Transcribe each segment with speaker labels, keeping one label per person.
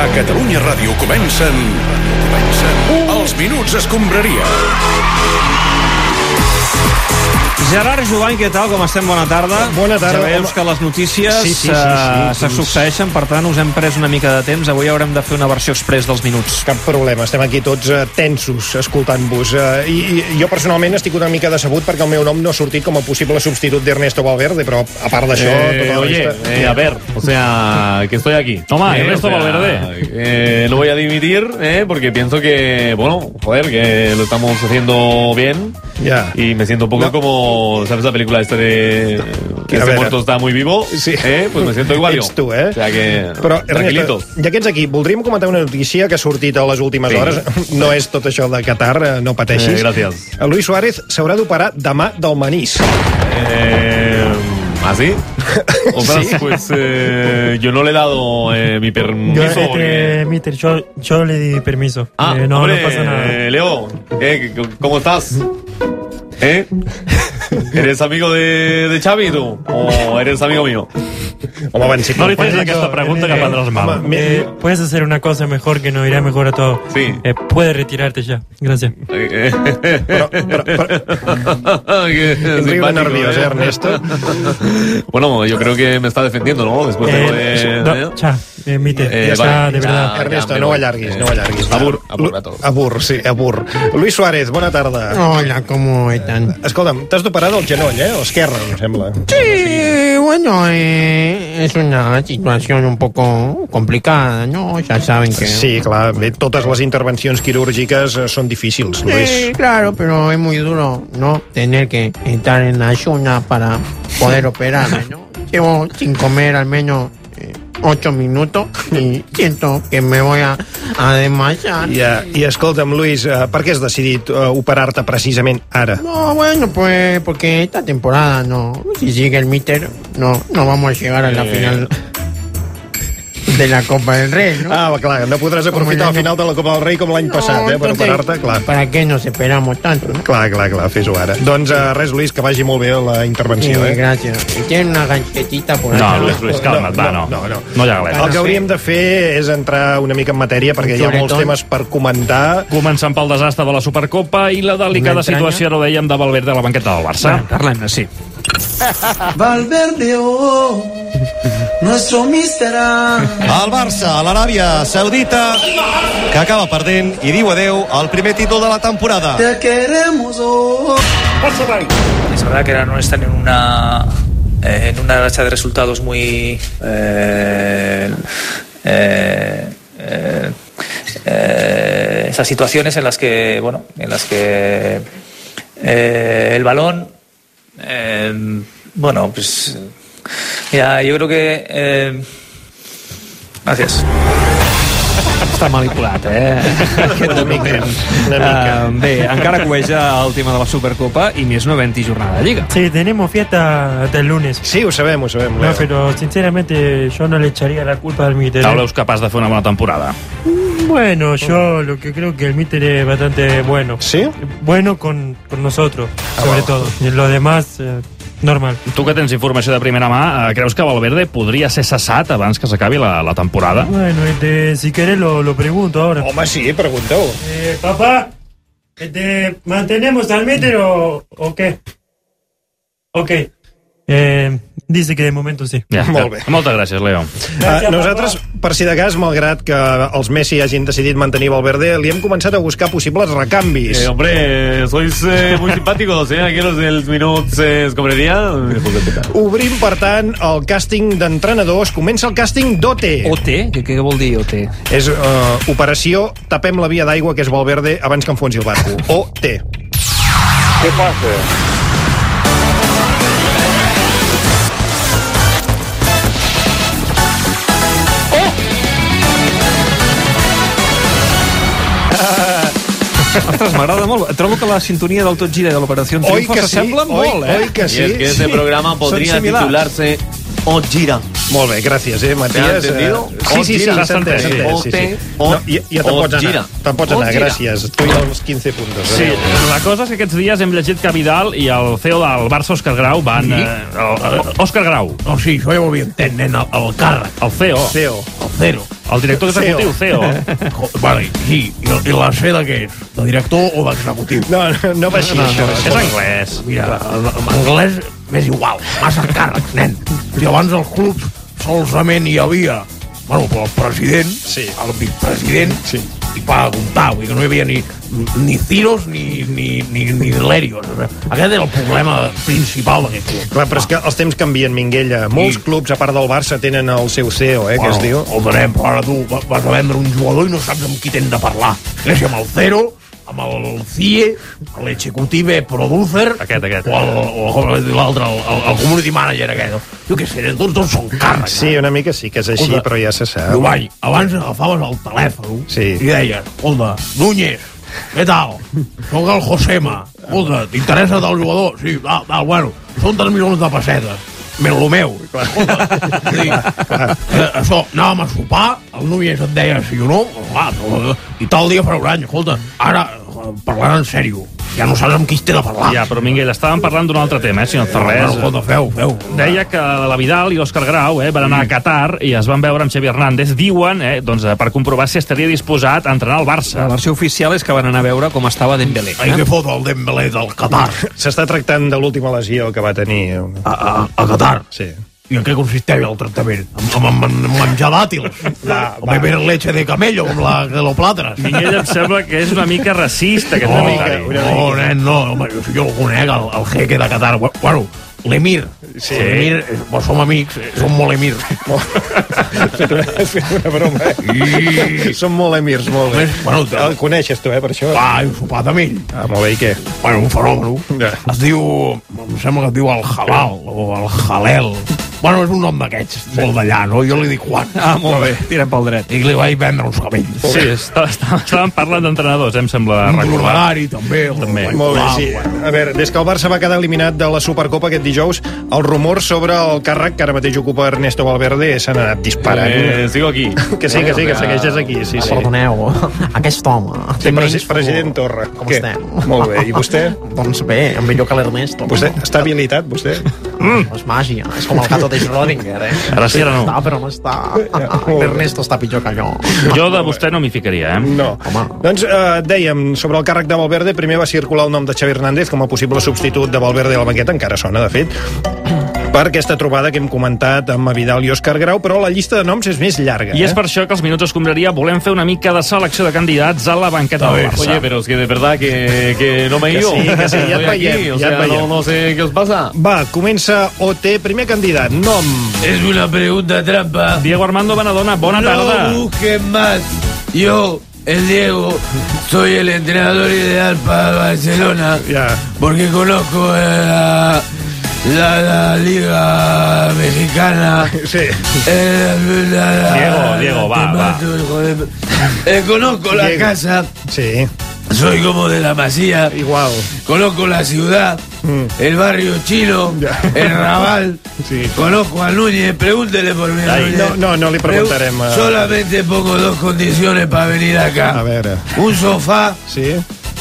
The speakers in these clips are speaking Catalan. Speaker 1: A Catalunya Ràdio comencen... comencen els Minuts Escombraria.
Speaker 2: Gerard Jovany, què tal? Com estem? Bona tarda.
Speaker 3: Bona tarda,
Speaker 2: Ja veus
Speaker 3: home.
Speaker 2: que les notícies
Speaker 3: Sí, sí, sí, sí,
Speaker 2: eh, se
Speaker 3: doncs-
Speaker 2: succeeixen, per tant, us hem pres una mica de temps. Avui haurem de fer una versió express dels minuts.
Speaker 3: Cap problema, estem aquí tots eh, tensos escoltant-vos. Eh, i, I jo personalment estic una mica decebut perquè el meu nom no ha sortit com a possible substitut d'Ernesto Valverde, però a part d'això...
Speaker 4: Eh,
Speaker 3: tota la
Speaker 4: oye,
Speaker 3: resta-
Speaker 4: eh, a ver, o sea, que estoy aquí. Toma,
Speaker 5: Eh,
Speaker 4: Ernesto
Speaker 5: o sea,
Speaker 4: Valverde. Eh, no voy a dimitir, eh, porque pienso que, bueno, joder, que lo estamos haciendo bien.
Speaker 3: Ya.
Speaker 4: Y me siento un poco
Speaker 3: No.
Speaker 4: como, ¿sabes la película esta de... Que
Speaker 3: A
Speaker 4: este
Speaker 3: ver.
Speaker 4: muerto está muy vivo.
Speaker 3: Sí.
Speaker 4: Eh, pues me siento igual yo.
Speaker 3: Ets tu, eh?
Speaker 4: O sea que,
Speaker 3: Però,
Speaker 4: tranquilito.
Speaker 3: Ernesto, ja que ets aquí, voldríem comentar una notícia que ha sortit a les últimes
Speaker 4: Sí.
Speaker 3: hores. No és tot això de Qatar, eh, no pateixis.
Speaker 4: Eh, gràcies.
Speaker 3: Luis Suárez s'haurà d'operar demà del manís.
Speaker 4: Eh, ¿Así? O sea, Pues eh, yo no le he dado eh, mi
Speaker 5: Yo,
Speaker 4: permiso.
Speaker 5: eh,
Speaker 4: porque-
Speaker 5: eh, mister, yo, yo le di permiso.
Speaker 4: Ah,
Speaker 5: Eh, no,
Speaker 4: hombre,
Speaker 5: no pasa nada.
Speaker 4: eh, Leo, eh, c- ¿cómo estás? ¿Eh? ¿Eres amigo de, de Xavi tú? ¿O eres amigo mío?
Speaker 3: Home, van ser...
Speaker 5: No li
Speaker 3: companys.
Speaker 5: facis aquesta pregunta que prendràs mal.
Speaker 3: Home, me-
Speaker 5: Eh, puedes hacer una cosa mejor que nos irá mejor a todos.
Speaker 4: Sí.
Speaker 5: Eh, puedes retirarte ya. Gracias.
Speaker 4: Eh,
Speaker 3: Però, però, però,
Speaker 4: qué
Speaker 3: riure
Speaker 4: simpático,
Speaker 3: nerviós, eh,
Speaker 4: eh.
Speaker 3: Ernesto.
Speaker 4: Bueno, yo creo que me está defendiendo, ¿no? Después de... lo
Speaker 5: Eh,
Speaker 4: de-
Speaker 5: no, ya, eh, mister,
Speaker 4: Eh,
Speaker 5: ya,
Speaker 4: vale,
Speaker 5: de
Speaker 4: ya.
Speaker 5: verdad.
Speaker 3: Ernesto,
Speaker 4: ja, me
Speaker 3: no ho
Speaker 4: voy.
Speaker 3: allarguis,
Speaker 4: Eh,
Speaker 3: no ho allarguis.
Speaker 4: abur, abur a tots.
Speaker 3: Abur, sí, abur. Luis Suárez, bona tarda.
Speaker 6: Hola, ¿cómo están?
Speaker 3: Escolta'm, t'has d'operar del genoll, eh? O esquerra, em sembla.
Speaker 6: Sí, bueno, eh, es una situación un poco complicada, ¿no? Ya saben que... Eh,
Speaker 3: Sí, clar, bé, totes les intervencions quirúrgiques eh, són difícils,
Speaker 6: Sí,
Speaker 3: Luis.
Speaker 6: claro, pero es muy duro, ¿no? Tener que estar en ayuna para poder operarme, ¿no? Llevo sin comer al menos eh, ocho minutos y siento que me voy a, a desmayar.
Speaker 3: I, eh, I escolta'm, Luis, eh, per què has decidit eh, operar-te precisament ara?
Speaker 6: No, bueno, pues porque esta temporada no. Si sigue el míter, no, no vamos a llegar a la
Speaker 4: Eh.
Speaker 6: final de la Copa del Rey, ¿no?
Speaker 3: Ah, clar, no podràs aprofitar
Speaker 6: Com
Speaker 3: el
Speaker 6: ja no-
Speaker 3: final de la Copa del Rei com l'any
Speaker 6: No,
Speaker 3: passat, eh? Per
Speaker 6: entonces,
Speaker 3: operar-te, clar.
Speaker 6: ¿Para qué nos esperamos tanto, no?
Speaker 3: Clar, clar, clar, fes-ho ara. Doncs eh, res, Luis, que vagi molt bé la
Speaker 6: Sí,
Speaker 3: intervenció, eh?
Speaker 6: gracias. Tiene una ganchetita por
Speaker 5: No,
Speaker 6: allá.
Speaker 5: no,
Speaker 3: Luis, calma't, va, no. No, no.
Speaker 5: hi ha galet.
Speaker 7: Ah,
Speaker 3: El que hauríem de fer és entrar una mica en matèria, perquè hi ha molts
Speaker 6: Sobretot-
Speaker 3: temes per comentar.
Speaker 8: Començant pel desastre de la Supercopa i la delicada
Speaker 6: Una entranya.
Speaker 8: situació, ara ho dèiem, de Valverde a la banqueta del Barça.
Speaker 2: Parlem-ne, sí.
Speaker 9: Valverde, oh, nuestro mister.
Speaker 7: El Barça a l'Aràbia Saudita, que acaba perdent i diu adeu al primer títol de la temporada.
Speaker 9: Te queremos, oh.
Speaker 10: Es verdad que ahora no están en una eh, en una racha de resultados muy eh, eh, eh, eh, esas situaciones en las que bueno en las que eh, el balón eh, bueno pues ya yo creo que eh, gracias
Speaker 2: Està manipulat, eh? Aquest
Speaker 3: Una mica, una mica.
Speaker 2: Uh, bé, encara cueja el tema de la Supercopa i més no havent-hi jornada de Lliga.
Speaker 5: Sí, tenemos fiesta hasta el lunes.
Speaker 3: Sí, ho sabem, ho sabem.
Speaker 5: No,
Speaker 3: Leo.
Speaker 5: pero sinceramente yo no le echaría la culpa al míter.
Speaker 8: No veus capaç de fer una bona temporada.
Speaker 5: Bueno, yo lo que creo que el míter es bastante bueno.
Speaker 3: Sí?
Speaker 5: Bueno con, con nosotros,
Speaker 4: Ah,
Speaker 5: sobre todo. Y lo demás, eh, normal.
Speaker 8: Tu que tens informació de primera mà, eh, creus que Valverde podria ser cessat abans que s'acabi la, la temporada?
Speaker 5: Bueno, este, si querés lo, lo pregunto ahora.
Speaker 3: Home, sí, pregunteu.
Speaker 5: Eh, papá, este, ¿mantenemos al míter o, o qué? Ok. Eh, dice que de momento sí.
Speaker 8: Ja,
Speaker 3: Molt bé.
Speaker 8: Moltes gràcies, Leo.
Speaker 3: Uh, nosaltres, per si de cas, malgrat que els Messi hagin decidit mantenir Valverde, li hem començat a buscar possibles recanvis.
Speaker 4: Eh, hombre, eh, sois eh, muy simpáticos, ¿eh? Aquí los del Minuts eh, Escombrería.
Speaker 3: Pues Obrim, per tant, el càsting d'entrenadors. Comença el càsting d'OT.
Speaker 2: OT? Què, què vol dir OT?
Speaker 3: És uh, operació Tapem la via d'aigua, que és Valverde, abans que enfonsi el barco. OT.
Speaker 2: Ostres, m'agrada molt. Trobo que la sintonia del Tot Gira i de l'Operació Triunfo s'assemblen
Speaker 3: oi,
Speaker 2: molt, eh?
Speaker 3: oi que
Speaker 4: Y
Speaker 3: sí?
Speaker 4: es que este
Speaker 3: sí.
Speaker 4: programa podría
Speaker 2: similares.
Speaker 4: titularse O Gira.
Speaker 3: Molt bé, gràcies, eh, Matías.
Speaker 4: ¿Te han entendido?
Speaker 3: Eh, Sí, sí, sí,
Speaker 4: Os gira.
Speaker 3: s'ha entès, s'ha entès, sí, sí.
Speaker 4: Os-
Speaker 3: No, ja, ja te'n
Speaker 4: os
Speaker 3: pots anar,
Speaker 4: gira.
Speaker 3: te'n pots anar,
Speaker 4: Os gira.
Speaker 3: gràcies. Tu i els 15 puntos.
Speaker 2: Sí,
Speaker 3: adéu.
Speaker 2: la cosa és que aquests dies hem llegit que Vidal i el CEO del Barça, Òscar Grau, van...
Speaker 11: Sí.
Speaker 2: Eh, el- el- Òscar Grau.
Speaker 11: O sigui, jo ja ho havia entès, nen, el, el càrrec.
Speaker 2: El CEO.
Speaker 3: CEO.
Speaker 11: El CEO.
Speaker 2: El director executiu, E CEO.
Speaker 11: Jo- Vale, sí. I, I la C de què és? De director o d'executiu?
Speaker 3: No, no, no va així, això.
Speaker 2: És anglès.
Speaker 11: Mira, en, en anglès m'és igual. Massa càrrecs, nen. Si abans al club solament hi havia bueno, però el president, sí. el vicepresident, sí. i para comptar, vull dir que no hi havia ni, ni Ciros ni, ni, ni, ni Lerios. Aquest era el problema principal d'aquest club.
Speaker 3: Clar, però és que els temps canvien, Minguella. Molts clubs, a part del Barça, tenen el seu CEO, eh, que es diu.
Speaker 11: El donem, però ara tu va- vas a vendre un jugador i no saps amb qui t'hem de parlar. Creix amb el Cero, amb el CIE, l'executive producer...
Speaker 2: Aquest, aquest.
Speaker 11: O el- o com es diu l'altre, el, el, el community manager aquest. Jo què sé, tots dos són càrrecs.
Speaker 3: Sí, una mica sí que és així,
Speaker 11: Escolta,
Speaker 3: però ja se sap.
Speaker 11: Iovall, abans agafaves el
Speaker 3: Eh,
Speaker 11: telèfon
Speaker 3: Sí.
Speaker 11: i deies, escolta, Núñez, què tal? Soc el Josema. Escolta, t'interessa el jugador? Sí, tal, tal, bueno, són 3 milions de pessetes. Men lo meu. Escolta, sí. eh, això, anàvem a sopar, el Núñez et deia sí o no, clar, però, eh, i tal dia farà un any. Escolta, ara eh, parlant en sèrio, ja no saps amb qui t'he de parlar.
Speaker 2: Ja, però Minguell, estàvem parlant d'un altre tema, eh, si no et fa
Speaker 11: Bueno,
Speaker 2: res.
Speaker 11: escolta, feu, feu.
Speaker 2: Deia que la Vidal i l'Òscar Grau eh, van anar a Qatar i es van veure amb Xavi Hernández. Diuen, eh, doncs, eh, per comprovar si estaria disposat a entrenar al Barça.
Speaker 12: La versió oficial és que van anar a veure com estava Dembélé.
Speaker 11: Ai,
Speaker 2: eh?
Speaker 11: que foto el Dembélé del Qatar.
Speaker 3: S'està tractant de l'última lesió que va tenir. eh,
Speaker 11: A, a, a Qatar.
Speaker 3: Sí.
Speaker 11: I en què consisteix el tractament? Amb, amb, amb, amb menjar dàtils? O beber leche de camello, com la de los plàtanes?
Speaker 2: Minguell, em sembla que és una mica racista, aquest
Speaker 11: no,
Speaker 2: comentari.
Speaker 11: no, nen, no, home, jo, jo el conec, el, el jeque de Qatar. Bueno, l'emir. Sí. L'emir, eh, bo, som amics, eh, som molt emir.
Speaker 3: Has fet una broma, eh? Són molt emirs, molt bé.
Speaker 11: Bueno, te-
Speaker 3: El coneixes tu, eh, per això?
Speaker 11: Va, he sopat amb ell.
Speaker 3: Ah, molt bé, i què?
Speaker 11: Bueno, un fenòmeno.
Speaker 3: Ja.
Speaker 11: Es diu... Em sembla que es diu el halal o el halel. Bueno, és un nom d'aquests, molt d'allà, no? Jo li dic Juan.
Speaker 12: Ah, molt bé, tirem pel dret.
Speaker 11: I li vaig vendre uns cabells.
Speaker 2: Sí, està- està- estàvem parlant d'entrenadors, eh, em sembla
Speaker 11: Un
Speaker 2: recordar.
Speaker 11: programari, també.
Speaker 2: També.
Speaker 3: Molt bé,
Speaker 11: Uau,
Speaker 3: sí.
Speaker 11: bueno.
Speaker 3: A veure, des que el Barça va quedar eliminat de la Supercopa aquest dijous, el rumor sobre el càrrec que ara mateix ocupa Ernesto Valverde s'han anat disparant.
Speaker 4: Eh, sigo aquí.
Speaker 3: Que sí, que sí, que segueixes aquí, sí, sí.
Speaker 13: Perdoneu, aquest home...
Speaker 3: Sí,
Speaker 13: té menys
Speaker 3: presi- president
Speaker 13: futur.
Speaker 3: Torra.
Speaker 13: Com
Speaker 3: Què?
Speaker 13: estem?
Speaker 3: Molt bé, i vostè?
Speaker 13: Doncs bé, millor que l'Ernesto.
Speaker 3: Vostè està habilitat, vostè?
Speaker 13: Mm. És
Speaker 6: Pues eh.
Speaker 13: màgia, és com el gato de Schrödinger, eh?
Speaker 2: Ara sí, ara no.
Speaker 13: Està, però no està.
Speaker 3: molt bé.
Speaker 13: L'Ernesto està pitjor que jo.
Speaker 2: Jo de vostè no m'hi ficaria, eh?
Speaker 3: No.
Speaker 13: Home.
Speaker 3: Doncs eh, dèiem, sobre el càrrec de Valverde, primer va circular el nom de Xavi Hernández com a possible substitut de Valverde a la banqueta, encara sona, de fet, per aquesta trobada que hem comentat amb Vidal i Òscar Grau, però la llista de noms és més llarga.
Speaker 2: Y es
Speaker 3: eh?
Speaker 2: per això que els Minuts Escombraria volem fer una mica de selecció de candidats a la banqueta del Barça.
Speaker 4: Oye, pero es que de verdad que, que no me he ido.
Speaker 3: sí, que sí, ya
Speaker 4: Estoy
Speaker 3: te
Speaker 4: aquí,
Speaker 3: veiem,
Speaker 4: o
Speaker 3: ya
Speaker 4: sea,
Speaker 3: te
Speaker 4: no,
Speaker 3: veiem.
Speaker 4: no sé qué os pasa.
Speaker 3: Va, comença OT, primer candidat, nom.
Speaker 11: Es una pregunta trampa.
Speaker 2: Diego Armando Bonadona, bona tarda.
Speaker 11: No busquen más. Yo, el Diego, soy el entrenador ideal para Barcelona.
Speaker 3: Ja.
Speaker 11: Porque conozco la, la- la Liga Mexicana.
Speaker 3: Sí.
Speaker 11: Eh, la- la-
Speaker 2: Diego, Diego,
Speaker 11: te
Speaker 2: va,
Speaker 11: mato, hijo de- Eh, conozco la
Speaker 3: Diego.
Speaker 11: casa.
Speaker 3: Sí,
Speaker 11: Soy como de la Masía.
Speaker 3: igual.
Speaker 11: Conozco la ciudad,
Speaker 3: Mm.
Speaker 11: el barrio chino, el Raval. Conozco a Núñez, pregúntele por mí. a
Speaker 3: Ay,
Speaker 11: Núñez.
Speaker 3: no, no, no le
Speaker 11: Pregu-
Speaker 3: preguntaremos.
Speaker 11: Solamente pongo dos condiciones para venir
Speaker 3: A
Speaker 11: acá.
Speaker 3: veure,
Speaker 11: Un sofá
Speaker 3: sí?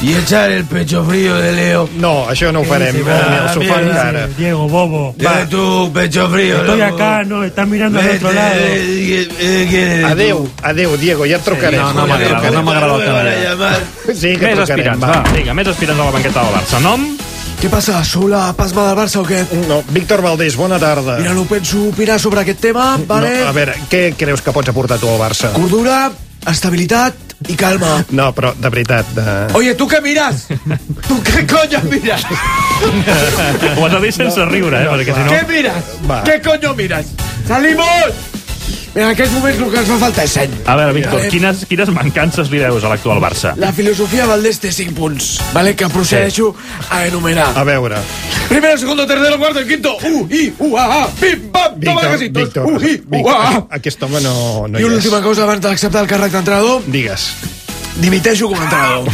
Speaker 11: y echar el pecho frío de Leo.
Speaker 3: No, això no ho farem,
Speaker 11: Sí,
Speaker 3: ni
Speaker 11: sí,
Speaker 3: el
Speaker 11: va,
Speaker 3: sofà
Speaker 11: mira,
Speaker 3: encara.
Speaker 5: Diego, bobo.
Speaker 11: Ya tu pecho frío.
Speaker 5: Estoy
Speaker 11: loco.
Speaker 5: acá, no, estás mirando al
Speaker 11: Vete,
Speaker 5: otro lado.
Speaker 11: eh, eh, eh, ¿quién eres tú?
Speaker 3: Adeu, adeu, Diego, ja et trucarem.
Speaker 12: no, no m'agrada,
Speaker 11: Joder,
Speaker 12: no m'agrada el
Speaker 11: me van a
Speaker 12: tema.
Speaker 11: llamar.
Speaker 3: Sí, que
Speaker 2: Més
Speaker 3: trucarem,
Speaker 2: aspirants,
Speaker 3: va.
Speaker 2: va. Vinga, més aspirants a la banqueta del Barça. Nom?
Speaker 9: Què passa? Sou la pasma del Barça o què?
Speaker 3: No, Víctor Valdés, bona tarda.
Speaker 9: Mira, no penso opinar sobre aquest tema, vale?
Speaker 3: No, a veure, què creus que pots aportar tu al Barça?
Speaker 9: Cordura, estabilitat i calma.
Speaker 3: No, però de veritat... De...
Speaker 9: Oye, ¿tú qué miras? ¿Tú qué coño miras?
Speaker 2: Ho has de dir sense riure, eh? perquè si no...
Speaker 9: ¿Qué miras?
Speaker 3: Va.
Speaker 9: ¿Qué coño miras? ¡Salimos! En aquests moments el que ens fa falta és seny.
Speaker 2: A veure, Víctor,
Speaker 9: Eh,
Speaker 2: quines, quines mancances li deus a l'actual Barça?
Speaker 9: La filosofia Valdés té 5 punts, vale? que procedeixo a enumerar.
Speaker 2: Ah.
Speaker 3: A veure,
Speaker 9: Primero, segundo, tercero, cuarto, quinto. Uh, i, uh, ah, ah, bim, bam, toma
Speaker 3: Víctor,
Speaker 9: casitos.
Speaker 3: Víctor,
Speaker 9: uh, i, uh,
Speaker 3: Víctor,
Speaker 9: ah, ah.
Speaker 3: aquest home no, no
Speaker 9: I
Speaker 3: hi
Speaker 9: una
Speaker 3: és.
Speaker 9: última cosa abans d'acceptar el càrrec d'entrenador,
Speaker 3: Digues.
Speaker 9: dimiteixo com a entrenador.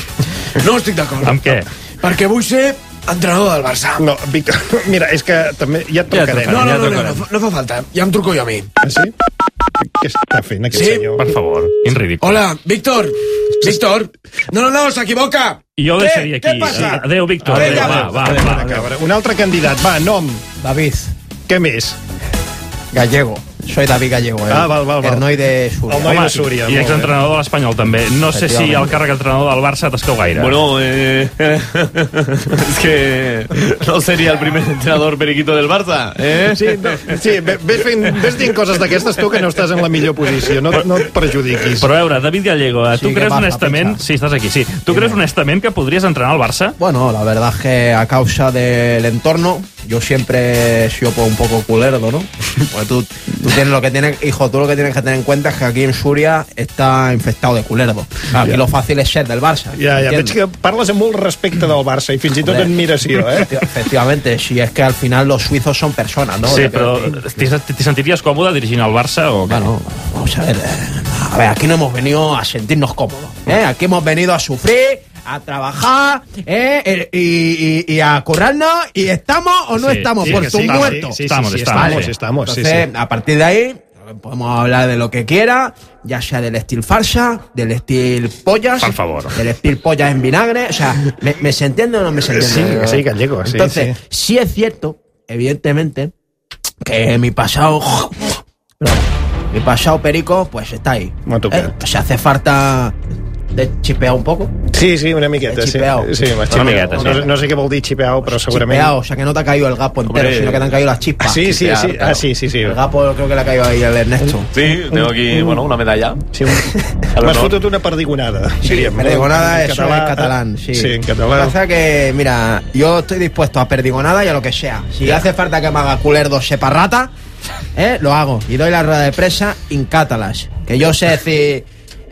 Speaker 9: No estic d'acord.
Speaker 2: Amb què?
Speaker 9: Perquè vull ser entrenador del Barça.
Speaker 3: No, Víctor, mira, és que també ja et
Speaker 9: No,
Speaker 3: trucarem.
Speaker 9: no, no, no, no, no, no, fa falta. Ja em truco jo a mi.
Speaker 3: Ah, Sí? Què està fent aquest
Speaker 9: Sí?
Speaker 3: senyor?
Speaker 2: Per favor, quin ridícul.
Speaker 9: Hola, Víctor. Víctor. No, no, no, s'equivoca.
Speaker 2: Jo ho
Speaker 9: Què?
Speaker 2: deixaria aquí.
Speaker 9: Què passa?
Speaker 2: Adéu, Víctor.
Speaker 9: Adéu,
Speaker 2: Adéu, va,
Speaker 9: adéu.
Speaker 2: va,
Speaker 3: Adéu,
Speaker 2: va.
Speaker 3: Cabra. Un altre candidat, va, nom.
Speaker 13: David.
Speaker 3: Què més?
Speaker 13: Gallego. Soy David
Speaker 6: eh.
Speaker 13: Gallego.
Speaker 2: Ah, val, val, val.
Speaker 13: Hernoi de Súria.
Speaker 2: Home, I exentrenador de l'Espanyol, també. No sé si el càrrec d'entrenador del Barça t'escau gaire.
Speaker 4: Bueno, eh, es que no sería el primer entrenador periquito del Barça, ¿eh?
Speaker 3: Sí, no, sí ve- ves, fent, ves dient coses d'aquestes tu que no estàs en la millor posició, no, no et perjudiquis.
Speaker 2: Però a veure, David Gallego, eh,
Speaker 13: Sí,
Speaker 2: tu
Speaker 13: què
Speaker 2: creus
Speaker 13: passa,
Speaker 2: honestament... Sí, estàs aquí, sí. Tu creus honestament que podries entrenar al Barça?
Speaker 6: Bueno, la verdad es que a causa del entorno, yo siempre he sido pues, un poco culerdo, ¿no? Porque tú, tú tienes lo que tienes, hijo, tú lo que tienes que tener en cuenta es que aquí en Suria está infectado de culerdo.
Speaker 2: Ah,
Speaker 6: Aquí lo fácil es ser del Barça.
Speaker 3: Ja, ja, veig
Speaker 6: ¿entiendes?
Speaker 3: que parles amb molt respecte del Barça i fins i tot
Speaker 6: Hombre,
Speaker 3: admiració, eh?
Speaker 6: efecti- Efectivamente, si es que al final los suizos son personas, ¿no?
Speaker 2: Sí,
Speaker 6: Yo creo
Speaker 2: però
Speaker 3: eh,
Speaker 6: que-
Speaker 2: t'hi t'hi sentiries còmode dirigint el Barça o què?
Speaker 6: Bueno, vamos a ver. eh, A ver, aquí no hemos venido a sentirnos cómodos. ¿eh? Aquí hemos venido a sufrir, a trabajar ¿eh? Eh, y, y- y a currarnos. ¿Y estamos o no
Speaker 3: Sí,
Speaker 6: estamos?
Speaker 3: sí,
Speaker 6: Por
Speaker 3: que sí,
Speaker 6: supuesto.
Speaker 3: sí, sí, sí, Estamos, sí, estamos,
Speaker 6: Vale.
Speaker 3: sí, estamos, sí,
Speaker 6: Entonces,
Speaker 3: sí.
Speaker 6: a partir de ahí, podemos hablar de lo que quiera, ya sea del estilo farsa, del estilo pollas.
Speaker 2: Por favor.
Speaker 6: Del estilo pollas en vinagre. O sea, ¿me, me se entiende o no me se entiende?
Speaker 3: Sí, que sí, gallego, sí,
Speaker 6: Entonces,
Speaker 3: sí.
Speaker 6: sí es cierto, evidentemente, que mi pasado mi pasado perico, pues está ahí. Eh, pues hace falta de chipear un poco.
Speaker 3: Sí, sí, una miqueta, sí.
Speaker 6: Xipeau.
Speaker 3: Sí, m'has
Speaker 6: Una
Speaker 3: xipeau.
Speaker 6: miqueta, sí.
Speaker 3: No, no sé què vol dir xipeau, però segurament...
Speaker 6: Chipeado, o sea que no te ha caído el gapo entero,
Speaker 3: Hombre.
Speaker 6: sino que te han caído las chispas.
Speaker 3: Sí, sí,
Speaker 6: Chipear,
Speaker 3: sí.
Speaker 6: claro.
Speaker 3: Ah, sí, sí, sí.
Speaker 6: El gapo creo que le ha caído ahí al Ernesto.
Speaker 4: Sí, tengo aquí, bueno, una medalla.
Speaker 3: Sí, M'has fotut una perdigonada, diríem. no?
Speaker 6: Perdigonada,
Speaker 3: En
Speaker 6: eso
Speaker 3: català, eh?
Speaker 6: en catalán, sí.
Speaker 3: Sí, en català.
Speaker 6: Lo que pasa es que, mira, yo estoy dispuesto a perdigonada y a lo que sea. Si hace falta que me haga culerdo sepa rata, eh, lo hago. Y doy la rueda de presa in catalas. Que yo sé decir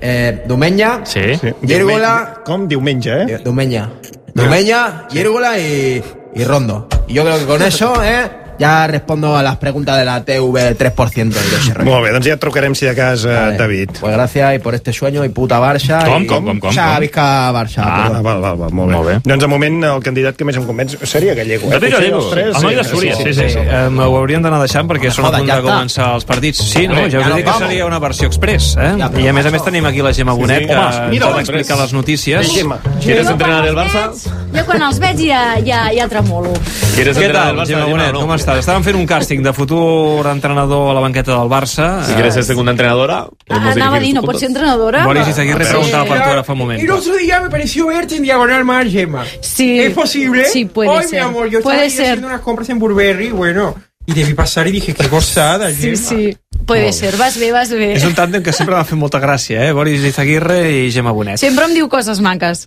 Speaker 6: eh, Dumeña,
Speaker 2: Sí.
Speaker 6: vírgula,
Speaker 3: Com? Diumenge, eh?
Speaker 6: Dumeña. Dumeña, Yérgola y, y Rondo. Y yo creo que con eso, ¿eh? Ya respondo a las preguntas de la TV 3% y de ese rollo.
Speaker 3: Molt bé, doncs ja et trucarem si de cas, eh, David.
Speaker 6: Pues gracias y por este sueño y puta Barça.
Speaker 3: Com,
Speaker 6: y-
Speaker 3: com, com, com,
Speaker 6: O sea,
Speaker 3: com?
Speaker 6: visca Barça.
Speaker 3: Ah,
Speaker 6: perdón.
Speaker 3: val, val, val, molt, bé. molt bé. Doncs, de moment, el candidat que més em convenç seria Gallego. Eh?
Speaker 12: David
Speaker 3: Potser
Speaker 12: Gallego,
Speaker 3: dels tres,
Speaker 12: el noi de Súria, sí, sí. Eh, ho hauríem d'anar deixant perquè són a
Speaker 3: joda,
Speaker 12: punt
Speaker 3: ja
Speaker 12: de
Speaker 3: està.
Speaker 12: començar els partits. Sí, no,
Speaker 3: Hombre,
Speaker 12: ja
Speaker 3: ja
Speaker 12: us he
Speaker 3: nos
Speaker 12: dit que
Speaker 3: vamos.
Speaker 12: seria una versió express, eh? I a més a més tenim aquí la Gemma Bonet, que
Speaker 4: Home,
Speaker 12: ens
Speaker 4: mira,
Speaker 12: pot
Speaker 4: la
Speaker 12: explicar
Speaker 4: Express.
Speaker 12: les notícies.
Speaker 4: Sí, Gemma. ¿Quieres
Speaker 14: Jo
Speaker 4: entrenar
Speaker 14: quan
Speaker 4: el
Speaker 14: els
Speaker 4: Barça?
Speaker 14: veig- Jo quan els veig ja, ja, ja tremolo.
Speaker 4: ¿Quieres
Speaker 12: Què
Speaker 4: entrenar
Speaker 12: tal,
Speaker 4: al Barça,
Speaker 12: Gemma
Speaker 4: Gemma,
Speaker 12: Bonet?
Speaker 4: o no?
Speaker 12: Com estàs? Estàvem fent un càsting de futur entrenador a la banqueta del Barça.
Speaker 4: Si quieres ser segunda entrenadora, hemos
Speaker 14: Anava a dir, no
Speaker 4: dirigido juntos.
Speaker 14: pots ser entrenadora?
Speaker 12: Boris
Speaker 14: però-
Speaker 12: Izaguirre preguntava per tu ara fa un moment.
Speaker 9: El otro día me pareció verte en Diagonal Mar, Gemma.
Speaker 14: Sí.
Speaker 9: ¿Es posible?
Speaker 14: Sí, puede
Speaker 9: Ay,
Speaker 14: ser.
Speaker 9: mi amor, yo
Speaker 14: Puede
Speaker 9: estaba ahí
Speaker 14: ser.
Speaker 9: haciendo unas compras en Burberry, bueno, y debí pasar y dije, qué gozada,
Speaker 14: Sí,
Speaker 9: Gemma.
Speaker 14: sí, puede ser, vas bé, vas bé.
Speaker 12: És un tàndem que sempre m'ha fet molta gràcia, eh? Boris Izaguirre i Gemma Bonet.
Speaker 14: Sempre em diu coses maques.